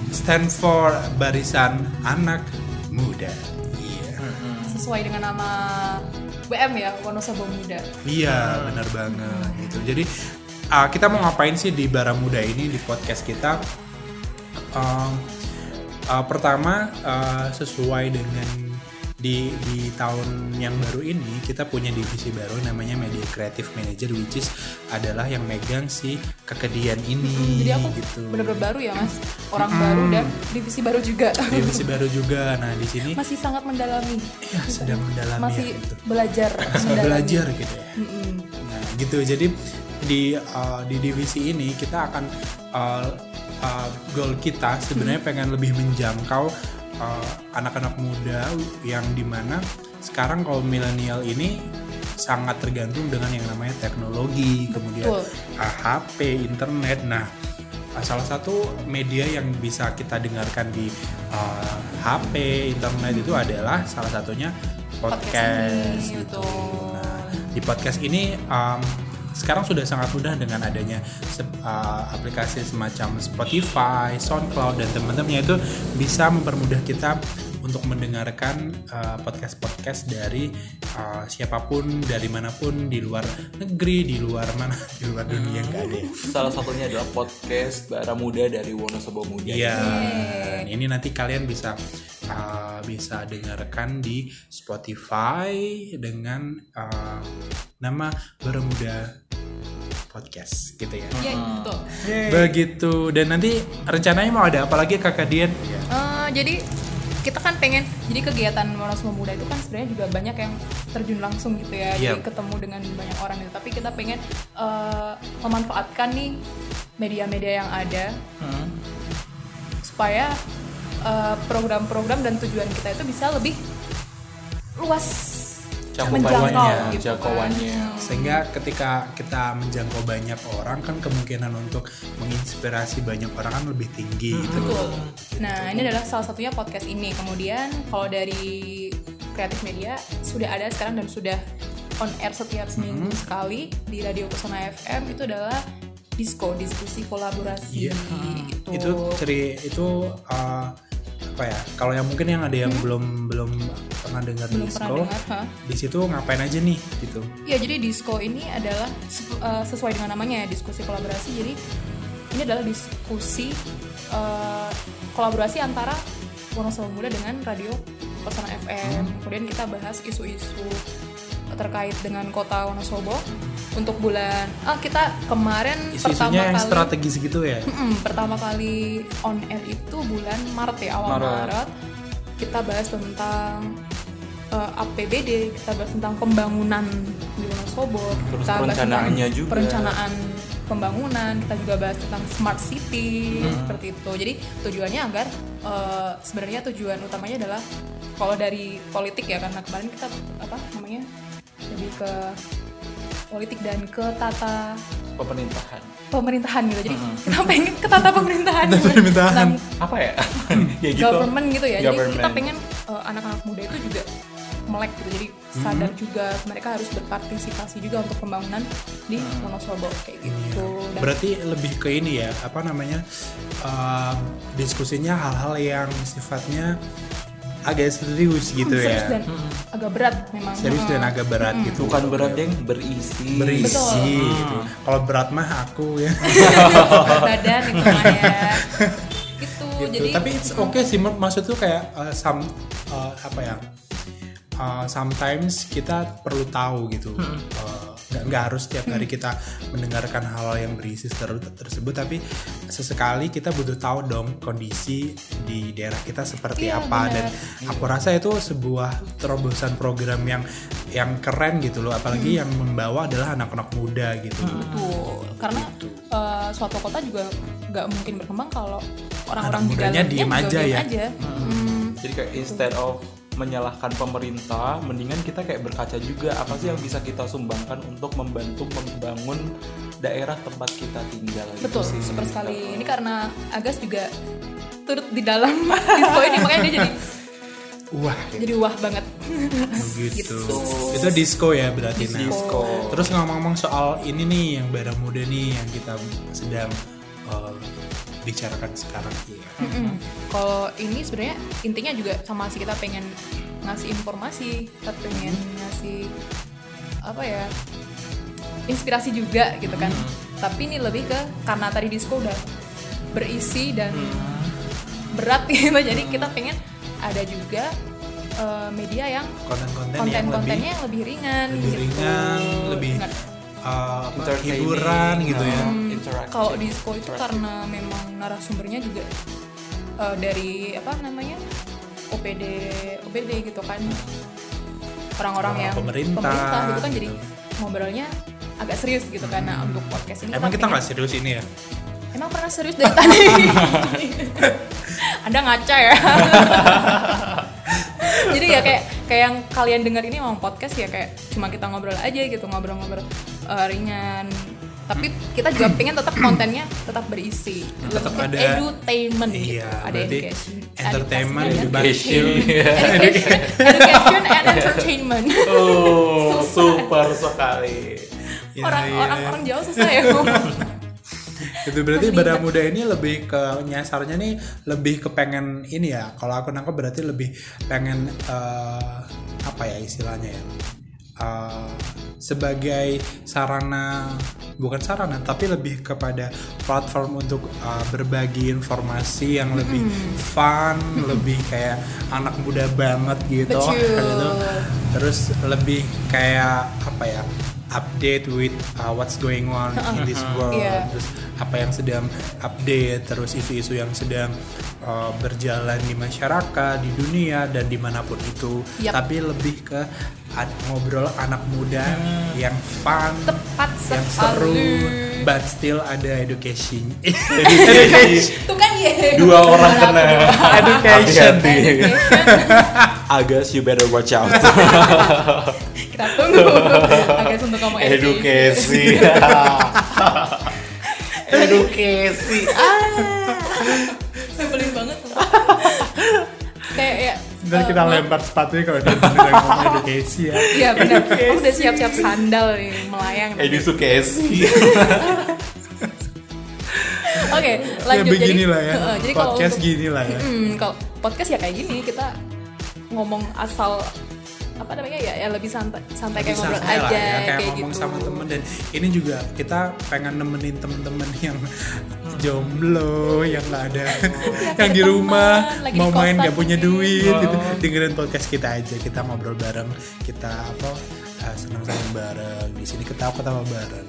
Stand for Barisan Anak Muda. Iya. Hmm. sesuai dengan nama BM ya Wonosobo Muda Iya, benar banget gitu. Jadi ah, kita mau ngapain sih di Baramuda ini di podcast kita? Um, ah, pertama ah, sesuai dengan di di tahun yang baru ini kita punya divisi baru namanya Media Creative Manager which is adalah yang megang si kekedian ini jadi aku gitu. Hmm. bener-bener baru ya mas orang baru dan divisi baru juga Divisi baru juga. Nah, di sini *laughs* masih sangat mendalami ya sedang mendalami masih ya, gitu. belajar Sambil mendalami. belajar gitu ya. Nah, gitu. Jadi di uh, di divisi ini kita akan uh, uh, goal kita sebenarnya pengen lebih menjangkau uh, anak-anak muda yang dimana sekarang kalau milenial ini sangat tergantung dengan yang namanya teknologi, kemudian Betul. uh, HP, internet. Nah, Uh, salah satu media yang bisa kita dengarkan di uh, HP internet itu adalah salah satunya podcast, Podcast ini, gitu. betul. Nah, di podcast ini um, sekarang sudah sangat mudah dengan adanya se- uh, aplikasi semacam Spotify, SoundCloud dan teman-temannya itu bisa mempermudah kita untuk mendengarkan uh, podcast-podcast dari uh, siapapun dari manapun di luar negeri, di luar mana, *laughs* di luar dunia nggak ada. ya. Salah satunya adalah podcast Bara Muda dari Wonosobo Muda. Iya. Ini nanti kalian bisa uh, bisa dengarkan di Spotify dengan uh, nama Bermuda Podcast gitu ya. Iya, betul. Begitu. Dan nanti rencananya mau ada apa lagi Kakak Dian? Eh, jadi kita kan pengen jadi kegiatan Wonosobo Muda itu kan sebenarnya juga banyak yang terjun langsung gitu ya, jadi Yep. ketemu dengan banyak orang gitu. Tapi kita pengen eh, memanfaatkan nih media-media yang ada Hmm. supaya eh, program-program dan tujuan kita itu bisa lebih luas Cakupannya, gitu kan. jangkauannya. Sehingga ketika kita menjangkau banyak orang kan kemungkinan untuk menginspirasi banyak orang kan lebih tinggi gitu. Betul. Nah, ini adalah salah satunya podcast ini. Kemudian kalau dari kreatif media sudah ada sekarang dan sudah on air setiap seminggu Hmm. sekali di Radio Pesona FM itu adalah disco diskusi kolaborasi Iya. gitu. itu ceri itu uh, apa ya kalau yang mungkin yang ada yang belum belum pernah dengar Hmm? belum pernah disco dengar, ha? di situ ngapain aja nih gitu Ya, jadi disco ini adalah se- eh, sesuai dengan namanya ya, diskusi kolaborasi. Jadi ini adalah diskusi eh, kolaborasi antara Wonosobo Muda dengan Radio Pesona FM. Hmm. Kemudian kita bahas isu-isu terkait dengan kota Wonosobo untuk bulan ah kita kemarin pertama isu-isunya yang kali Hmm. strategis gitu ya Mm-mm, pertama kali on air itu bulan Maret ya awal Maret. Maret, kita bahas tentang eh, APBD kita bahas tentang pembangunan di Wonosobo Terus kita bahas tentang perencanaannya juga. perencanaan pembangunan kita juga bahas tentang smart city Mm-hmm. seperti itu jadi tujuannya agar eh, sebenarnya tujuan utamanya adalah kalau dari politik ya karena kemarin kita apa namanya lebih ke politik dan ke tata Pemerintahan. pemerintahan gitu jadi kita pengen ke tata pemerintahan Uh-huh. pemerintahan. Tentang Apa ya? *laughs* ya gitu. Hmm. government gitu ya jadi kita Government. pengen uh, anak-anak muda itu juga melek gitu jadi Hmm. sadar juga mereka harus berpartisipasi juga untuk pembangunan di Hmm. Wonosobo kayak gitu Iya. Dan ya. berarti lebih ke ini ya ah, apa namanya uh, diskusinya hal-hal yang sifatnya agak serius gitu Hmm, serius ya dan agak berat memang. serius Hmm. Hmm. dan agak berat gitu bukan berat yang berisi berisi Betul. gitu. kalau berat mah aku ya *laughs* badan itu mah ya. Gitu, gitu. jadi tapi it's okay sih Mer- maksud tuh kayak uh, some uh, apa ya uh, sometimes kita perlu tahu gitu Hmm. Uh, nggak nggak harus tiap hari kita mendengarkan hal yang berisi ter- tersebut tapi sesekali kita butuh tahu dong kondisi di daerah kita seperti Iya, apa dan benar. aku rasa itu sebuah terobosan program yang yang keren gitu loh Hmm. apalagi yang membawa adalah anak-anak muda gitu betul. Karena eh, suatu kota juga nggak mungkin berkembang kalau orang-orang Anak di mudanya dalamnya diem juga aja diem ya. aja. Hmm. jadi kayak instead of menyalahkan pemerintah mendingan kita kayak berkaca juga apa sih yang bisa kita sumbangkan untuk membantu membangun daerah tempat kita tinggal gitu Betul, sih. super sekali. Ini karena Agas juga turut di dalam *laughs* disco ini makanya dia jadi wah *laughs* jadi wah banget. gitu. Gitu. Itu disco ya berarti Nas. Disco. Terus ngomong-ngomong soal ini nih yang bara muda nih yang kita sedang eh, bicarakan sekarang ya. Mm-mm. Kalau ini sebenarnya intinya juga sama sih kita pengen ngasih informasi, kita pengen ngasih apa ya inspirasi juga gitu kan. Tapi ini lebih ke karena tadi disco udah berisi dan berat *laughs* gitu, jadi kita pengen ada juga eh, media yang Konten-konten yang lebih konten-kontennya yang lebih ringan, lebih gitu. ringan, lebih Nggak- eh, apa, Entertaining, hiburan gitu ya. uh, interactive. Hmm. kalau disco itu karena memang narasumbernya juga eh, dari apa namanya OPD OPD gitu kan orang-orang Orang yang pemerintah, gitu kan jadi gitu. Hmm. ngobrolnya agak serius gitu kan Nah, untuk podcast ini Emang kita pengen- nggak serius ini ya? emang pernah serius *laughs* dari tadi anda ngaca ya *laughs* jadi ya kayak kayak yang kalian dengar ini emang podcast ya kayak cuma kita ngobrol aja gitu ngobrol-ngobrol eh, ringan tapi kita juga pengen tetap kontennya tetap berisi Tetap Lebih ada- edutainment Iya, gitu. ada berarti education entertainment education, juga chill. *laughs* *laughs* education, education and entertainment *laughs* oh super sekali Iya, orang iya, orang iya. orang jauh susah ya ngomong. itu berarti Bada Muda ini lebih ke nyasarnya nih lebih ke pengen ini ya kalau aku nangkep berarti lebih pengen eh, apa ya istilahnya ya Eh, sebagai sarana bukan sarana tapi lebih kepada platform untuk eh, berbagi informasi yang lebih fun lebih kayak anak muda banget gitu Betul. gitu. terus lebih kayak apa ya update with uh, what's going on in this world Iya. terus apa yang sedang update terus isu-isu yang sedang uh, berjalan di masyarakat di dunia dan dimanapun itu Yap. tapi lebih ke ad- ngobrol anak muda yang fun tepat yang seru Hmm. sekali but still ada *laughs* education Iya. Tuh kan ya. dua orang kena Education. Hati-hati. *laughs* Agus you better watch out *laughs* Kita *laughs* tunggu Agak untuk ngomong *laughs* edukasi edukasi Ah. Sebelin banget sumpah. Kayak ya Ntar eh, kita mel- lempar sepatunya kalau udah beneran ngomong education ya Iya benar Aku udah siap-siap sandal nih Melayang nanti. edukasi Oke lanjut Lebih gini lah ya Heeh, *laughs* Jadi kalau podcast untuk- gini lah ya Mm, Kalau podcast ya kayak gini Kita ngomong asal apa namanya ya, ya lebih santai santai kayak ngobrol santai lah ya, aja kayak, kayak, ngomong gitu sama temen dan ini juga kita pengen nemenin temen-temen yang *laughs* jomblo yang nggak ada *laughs* yang di Iya, teman, rumah lagi mau main di kosan. Oh. nggak punya duit gitu. dengerin podcast kita aja kita ngobrol bareng kita apa eh, senang-senang bareng di sini ketawa-ketawa *laughs* bareng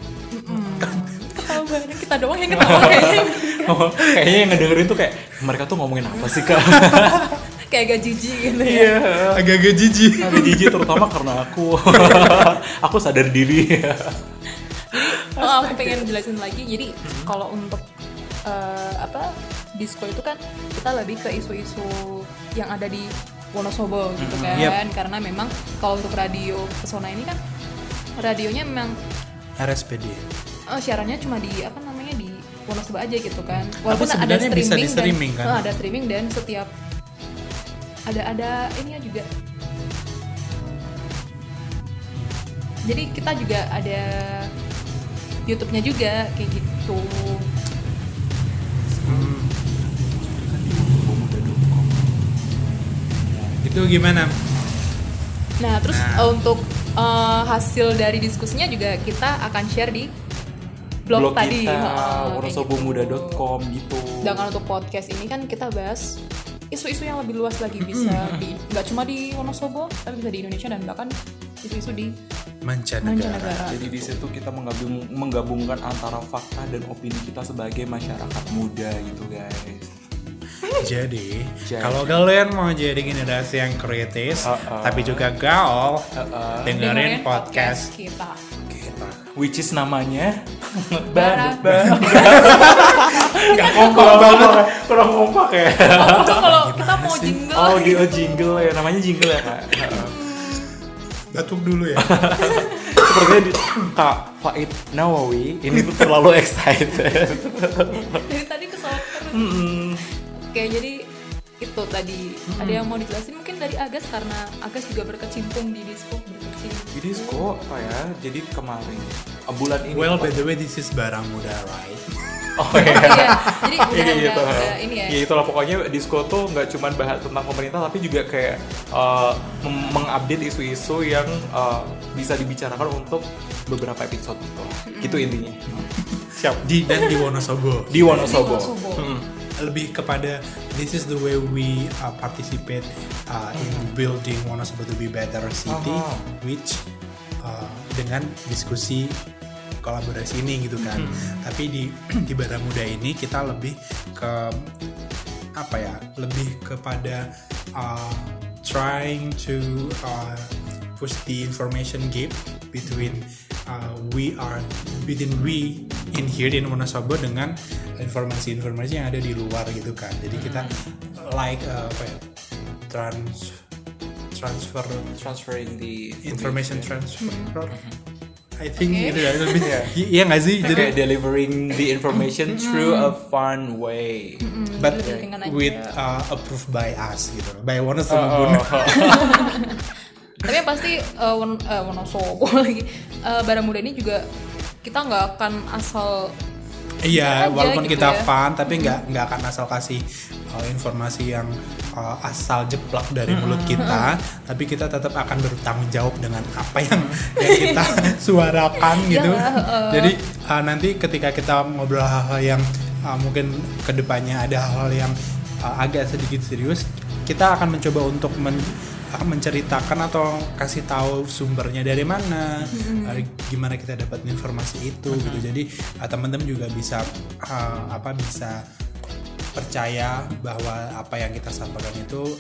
Ketawa banget, kita doang yang ketawa kayaknya *laughs* Oh, kayaknya yang ngedengerin tuh kayak mereka tuh ngomongin apa sih kak? *laughs* kayak agak jijik gitu ya agak-agak jijik *laughs* Agak jijik terutama karena *laughs* aku aku sadar diri. Oh, aku pengen jelasin lagi. Jadi kalau untuk eh, apa disco itu kan kita lebih ke isu-isu yang ada di Wonosobo gitu kan. yep. Karena memang kalau untuk radio Pesona ini kan radionya memang RSPD eh, siarannya cuma di apa namanya di Wonosobo aja gitu kan. ada sebenarnya bisa di streaming kan? dan, Oh, ada streaming dan setiap ada ada ininya juga. Jadi kita juga ada YouTube-nya juga kayak gitu. itu gimana Nah, terus Nah. eh, untuk eh, hasil dari diskusinya juga kita akan share di blog, blog tadi. kita Heeh, kayak gitu. worosobumuda.com gitu Sedangkan untuk podcast ini kan kita bahas isu-isu yang lebih luas lagi bisa Hmm. di nggak cuma di Wonosobo tapi bisa di Indonesia dan bahkan isu-isu di mancanegara mancanegara. jadi di situ kita menggabung, menggabungkan antara fakta dan opini kita sebagai masyarakat muda gitu guys jadi Jadi. kalau kalian mau jadi generasi yang kritis Uh-uh. tapi juga gaul Uh-uh. dengerin podcast *laughs* kita. kita which is namanya *laughs* Bara- *laughs* nggak kompak banget kurang kompak *laughs* ya Oh, itu kalau kita mau jingle. oh di oh, jingle ya namanya jingle ya kak batuk dulu ya sepertinya di kak Faid Nawawi *laughs* *laughs* ini tuh terlalu excited Dari tadi kesel terus. Mm-mm. Oke, jadi itu tadi Hmm. ada yang mau dijelasin mungkin dari Agas karena Agas juga berkecimpung di disco *laughs* berkecimpung. jadi sko apa ya jadi kemarin eh, bulan ini well by Pak. the way this is barang muda right oh Iya, iya jadi udah, *laughs* Iya udah, gitu. udah ini ya. Ya, itulah pokoknya disco tuh nggak cuma bahas tentang pemerintah tapi juga kayak eh, mem- mengupdate isu-isu yang eh, bisa dibicarakan untuk beberapa episode gitu. Gitu intinya. Siap. di dan di Wonosobo *laughs* Di Wonosobo. Di Wonosobo. Mm. lebih kepada this is the way we uh, participate uh, in building Wonosobo to be better city Aha. which uh, dengan diskusi kolaborasi ini gitu kan tapi di *clears throat* di Bara Muda ini kita lebih ke apa ya lebih kepada uh, trying to uh, push the information gap between uh, we are between we in here in Wonosobo dengan informasi-informasi yang ada di luar gitu kan jadi kita like uh, apa ya trans transfer Transferring the information transfer I think Oke. itu ya lebih I- iya nggak sih jadi Kayak delivering the information through a fun way. but Lebih ringan aja. with uh, approved by us gitu by Wonosobo Oh, Tapi yang pasti eh, Won- eh, Wonosobo *laughs* lagi. Eh, Bara Muda ini juga kita nggak akan asal Iya, aja walaupun gitu kita ya. fun, tapi nggak nggak akan asal kasih uh, informasi yang uh, asal jeplak dari mulut kita, tapi kita tetap akan bertanggung jawab dengan apa yang, yang kita *laughs* suarakan gitu. Iya, Jadi uh, nanti ketika kita ngobrol hal-hal yang uh, mungkin kedepannya ada hal-hal yang uh, agak sedikit serius, kita akan mencoba untuk men- uh, menceritakan atau kasih tahu sumbernya dari mana, uh, gimana kita dapat informasi itu gitu. Jadi uh, teman-teman juga bisa uh, apa bisa percaya bahwa apa yang kita sampaikan itu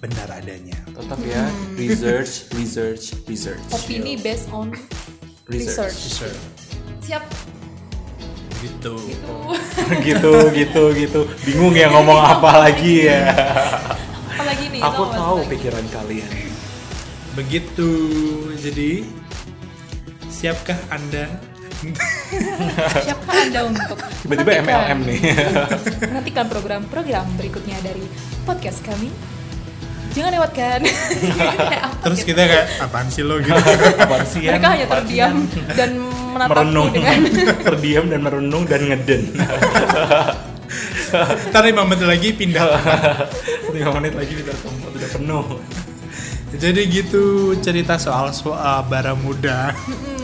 benar adanya. Tetap ya, research, research, research. opini based on Research. research. Sure. Siap. Gitu. *laughs* gitu, gitu, gitu. Bingung ya ngomong apa lagi ya. Apalagi nih Aku tau nggak tahu sebenarnya? pikiran kalian. Begitu. Jadi siapkah Anda? Siapkah Anda untuk *laughs* Tiba-tiba menantikan- MLM *laughs* nih. Nantikan program-program berikutnya dari podcast kami. Jangan *laughs* lewatkan. Kayak apa Terus gitu. kita kayak apaan sih lo gitu? *laughs* Apaan sih, Yan? mereka hanya Apaan sih, terdiam Yan? dan menatapku merenung dengan *laughs* terdiam dan merenung dan ngeden Ntar lima menit lagi *laughs* pindah. lima menit lagi kita tempat udah penuh Jadi gitu cerita soal soal bara muda. *laughs*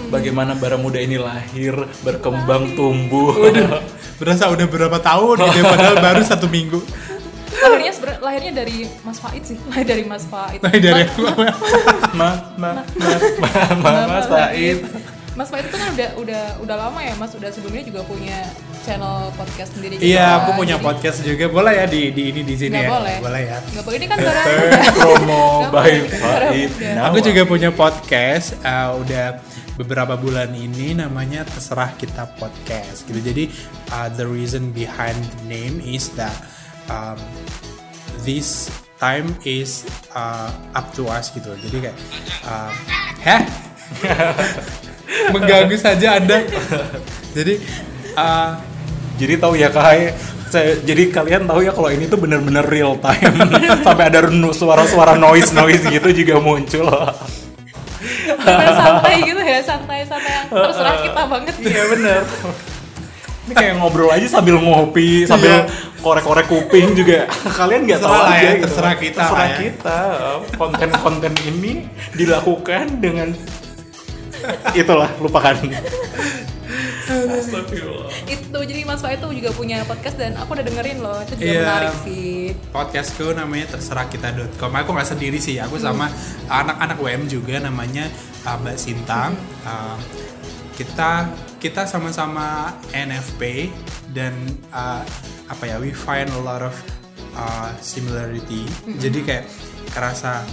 Hmm. bagaimana bara muda ini lahir berkembang tumbuh Berasa udah berapa tahun gitu, ya, *laughs* padahal baru satu minggu. lahirnya sebenar- lahirnya dari Mas Faid sih *laughs* lahir dari Mas Faid Tapi Nah, dari aku *laughs* ma ma ma ma ma ma Said Mas Faid itu kan udah udah udah lama ya Mas udah sebelumnya juga punya channel podcast sendiri juga. Iya, aku punya Jadi podcast juga. Boleh ya di di ini di sini nggak ya? boleh ya. nggak boleh ini kan karena promo Nggak by boleh. Faid Nawa. Aku juga punya podcast eh, udah beberapa bulan ini namanya terserah kita podcast gitu. Jadi uh, the reason behind the name is that um, this time is uh, up to us gitu. Jadi kayak uh, *laughs* heh mengganggu saja Anda. Jadi uh, jadi tahu ya kak saya, jadi kalian tahu ya kalau ini tuh bener-bener real *laughs* time sampai ada renu- suara-suara noise noise gitu juga muncul bener-bener santai gitu ya santai santai yang terserah kita banget iya bener Ini kayak ngobrol aja sambil ngopi, sambil Iya. korek-korek kuping juga. Kalian nggak tahu Terserah lah aja ya, gitu. terserah kita Terserah lah ya. kita. Konten-konten ini dilakukan dengan itulah lupakan. Astagfirullah. itu jadi Mas Fai itu juga punya podcast dan aku udah dengerin loh itu juga Iya. menarik sih podcastku namanya terserah kita.com aku nggak sendiri sih aku sama anak-anak WM juga namanya uh, Mbak Sinta Uh, kita kita sama-sama NFP dan uh, apa ya we find a lot of uh, similarity jadi kayak kerasa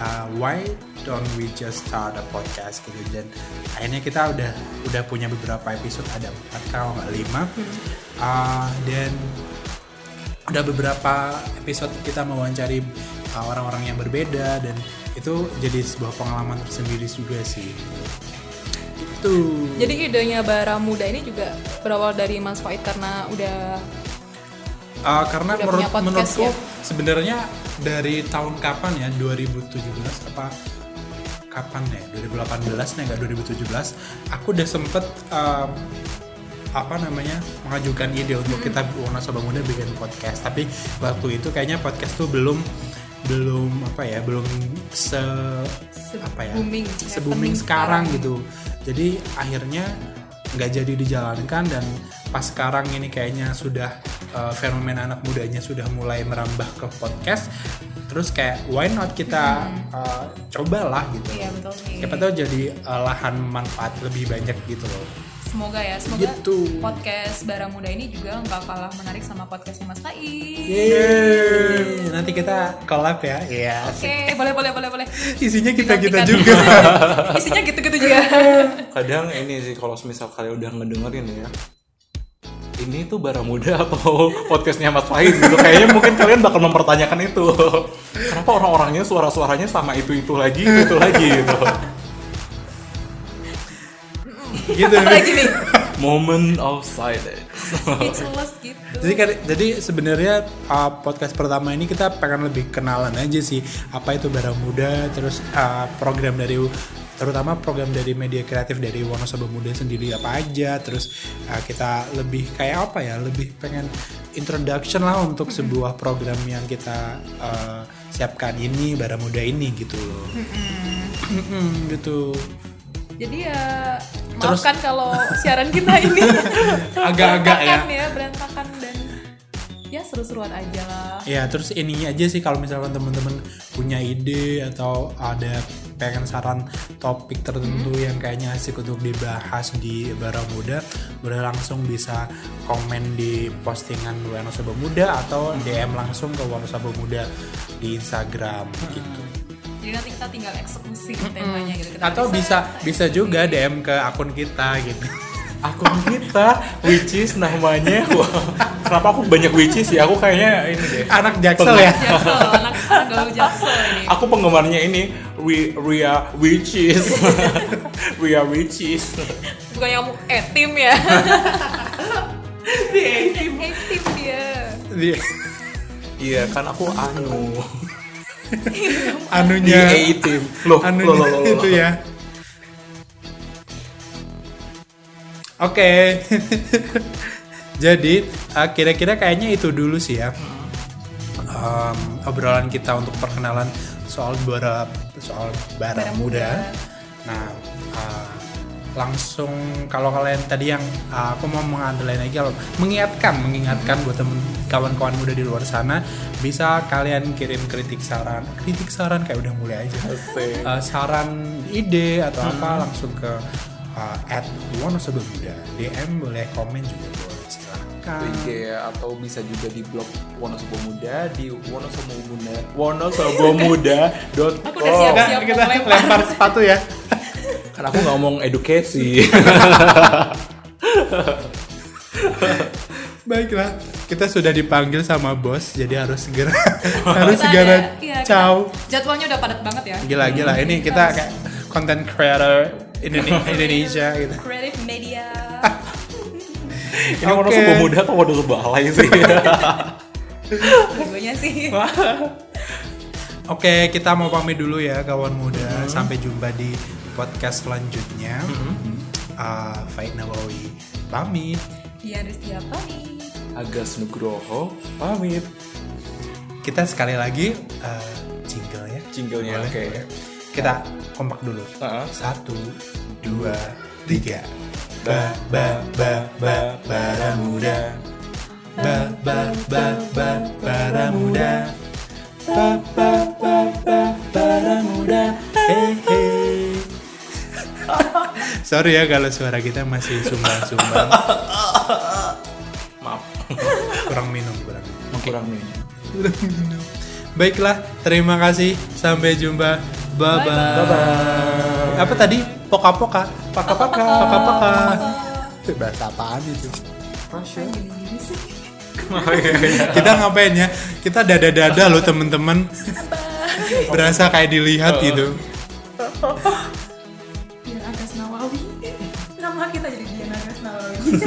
uh, why don't we just start a podcast gitu dan akhirnya kita udah udah punya beberapa episode ada empat kalau nggak lima Uh, dan udah beberapa episode kita mewawancari uh, orang-orang yang berbeda dan itu jadi sebuah pengalaman tersendiri juga sih Gitu. itu jadi idenya Bara Muda ini juga berawal dari Mas Fai karena udah Uh, karena Udah menurut punya podcast menurutku ya? sebenarnya dari tahun kapan ya 2017 apa kapan ya 2018 nih enggak 2017 aku udah sempet um, apa namanya mengajukan ide untuk Hmm. kita Wona Sobamuda bikin podcast tapi waktu itu kayaknya podcast tuh belum belum apa ya belum se apa ya Se-booming, se booming happening sekarang sekarang. gitu jadi akhirnya nggak jadi dijalankan dan pas sekarang ini kayaknya sudah eh, fenomena anak mudanya sudah mulai merambah ke podcast terus kayak why not kita eh, cobalah gitu iya betul sih siapa tahu jadi eh, lahan manfaat lebih banyak gitu loh semoga ya semoga Gitu. podcast Bara Muda ini juga nggak kalah menarik sama podcastnya Mas Fai Iya, Yeay. nanti kita collab ya iya Oke, boleh boleh boleh boleh. isinya kita kita Nantikan. *laughs* juga Isinya gitu-gitu *laughs* juga. Kadang ini sih kalau misal kalian udah ngedengerin ya. Ini tuh bara muda atau *laughs* podcastnya Mas Fahim gitu. Kayaknya mungkin kalian bakal mempertanyakan itu. Kenapa orang-orangnya suara-suaranya sama itu-itu lagi, itu lagi gitu. gitu Apalagi nih, Moment of silence. speechless gitu. Jadi kan- jadi sebenarnya uh, podcast pertama ini kita pengen lebih kenalan aja sih apa itu barang muda terus uh, program dari terutama program dari media kreatif dari Wonosobo Muda sendiri apa aja terus uh, kita lebih kayak apa ya lebih pengen introduction lah untuk sebuah program yang kita uh, siapkan ini barang muda ini gitu loh Mm-mm, gitu Jadi ya Terus- maafkan kalau siaran kita ini *laughs* Agak-agak ya. berantakan berantakan dan ya seru-seruan aja lah. Ya terus ininya aja sih kalau misalkan teman-teman punya ide atau ada pengen saran topik tertentu Hmm. yang kayaknya asik untuk dibahas di Bara Muda, boleh langsung bisa komen di postingan Wonosobo Muda Hmm. atau DM langsung ke Wonosobo Muda di Instagram Hmm. gitu. Jadi nanti kita tinggal eksekusi temanya gitu. Kita Atau bisa bisa juga DM ke akun kita *laughs* gitu. akun kita which is namanya wah, kenapa aku banyak which is ya aku kayaknya ini deh Anak Jaksel ya. *laughs* Jaksel, anak anak gaul jaksel ini. aku penggemarnya ini we Ria witches *laughs* Ria witches Bukan yang eh tim ya. Iya, *laughs* Dia tim. tim dia. Di iya kan aku anu di anunya A team loh anu loh loh loh, loh. Ya. itu ya. Oke. *laughs* Jadi uh, kira-kira kayaknya itu dulu sih ya. Um, obrolan kita untuk perkenalan soal bara soal bara Bara muda. muda. Ya. Nah, uh, langsung kalau kalian tadi yang uh, aku mau mengandalkan lagi kalau mengingatkan mengingatkan buat temen kawan-kawan muda di luar sana bisa kalian kirim kritik saran kritik saran kayak udah mulai aja Asik. Uh, saran ide atau apa langsung ke uh, at Wonosobo Muda DM boleh komen juga boleh Di silahkan IG atau bisa juga di blog Wonosobo Muda di Wonosobo Muda wonosobomuda.com Aku udah siap. Nah, kita mau lempar sepatu ya kan aku ngomong edukasi baiklah kita sudah dipanggil sama bos jadi harus segera harus Kita segera ada- iya, kita- ciao Jadwalnya udah padat banget ya. gila gila Hmm. ini kita kayak content creator *laughs* Indone- Indonesia gitu Creative *laughs* media. ini Oke. Wonosobo Muda atau Wonosobo Alay *laughs* sih Dua-duanya sih. Oke, kita mau pamit dulu ya kawan Hmm. muda. Sampai jumpa di Hmm. podcast selanjutnya. Ah, Faid Nawawi Uh, pamit. Dian Rizky Apani. Agas Nugroho pamit Kita sekali lagi eh, jingle ya. jinglenya Boleh, oke boleh. Kita kompak dulu. Heeh. Satu, dua, tiga. Ba ba ba ba para muda. Ba ba ba ba para muda. Ba ba ba ba para muda. Hehe. *laughs* Sorry ya kalau suara kita masih sumbang-sumbang, *laughs* maaf kurang minum, kurang minum. kurang minum Kurang minum. Baiklah, terima kasih. Sampai jumpa. Bye bye. Apa tadi? Poka-poka. Paka-paka. Paka-paka. Itu Bahasa apaan itu? Kan gini-gini sih. kita ngapain ya? Kita dada-dada loh temen-temen. Berasa kayak dilihat gitu. *laughs* Dian Agas Nawawi. Nama kita jadi Dian Agas Nawawi.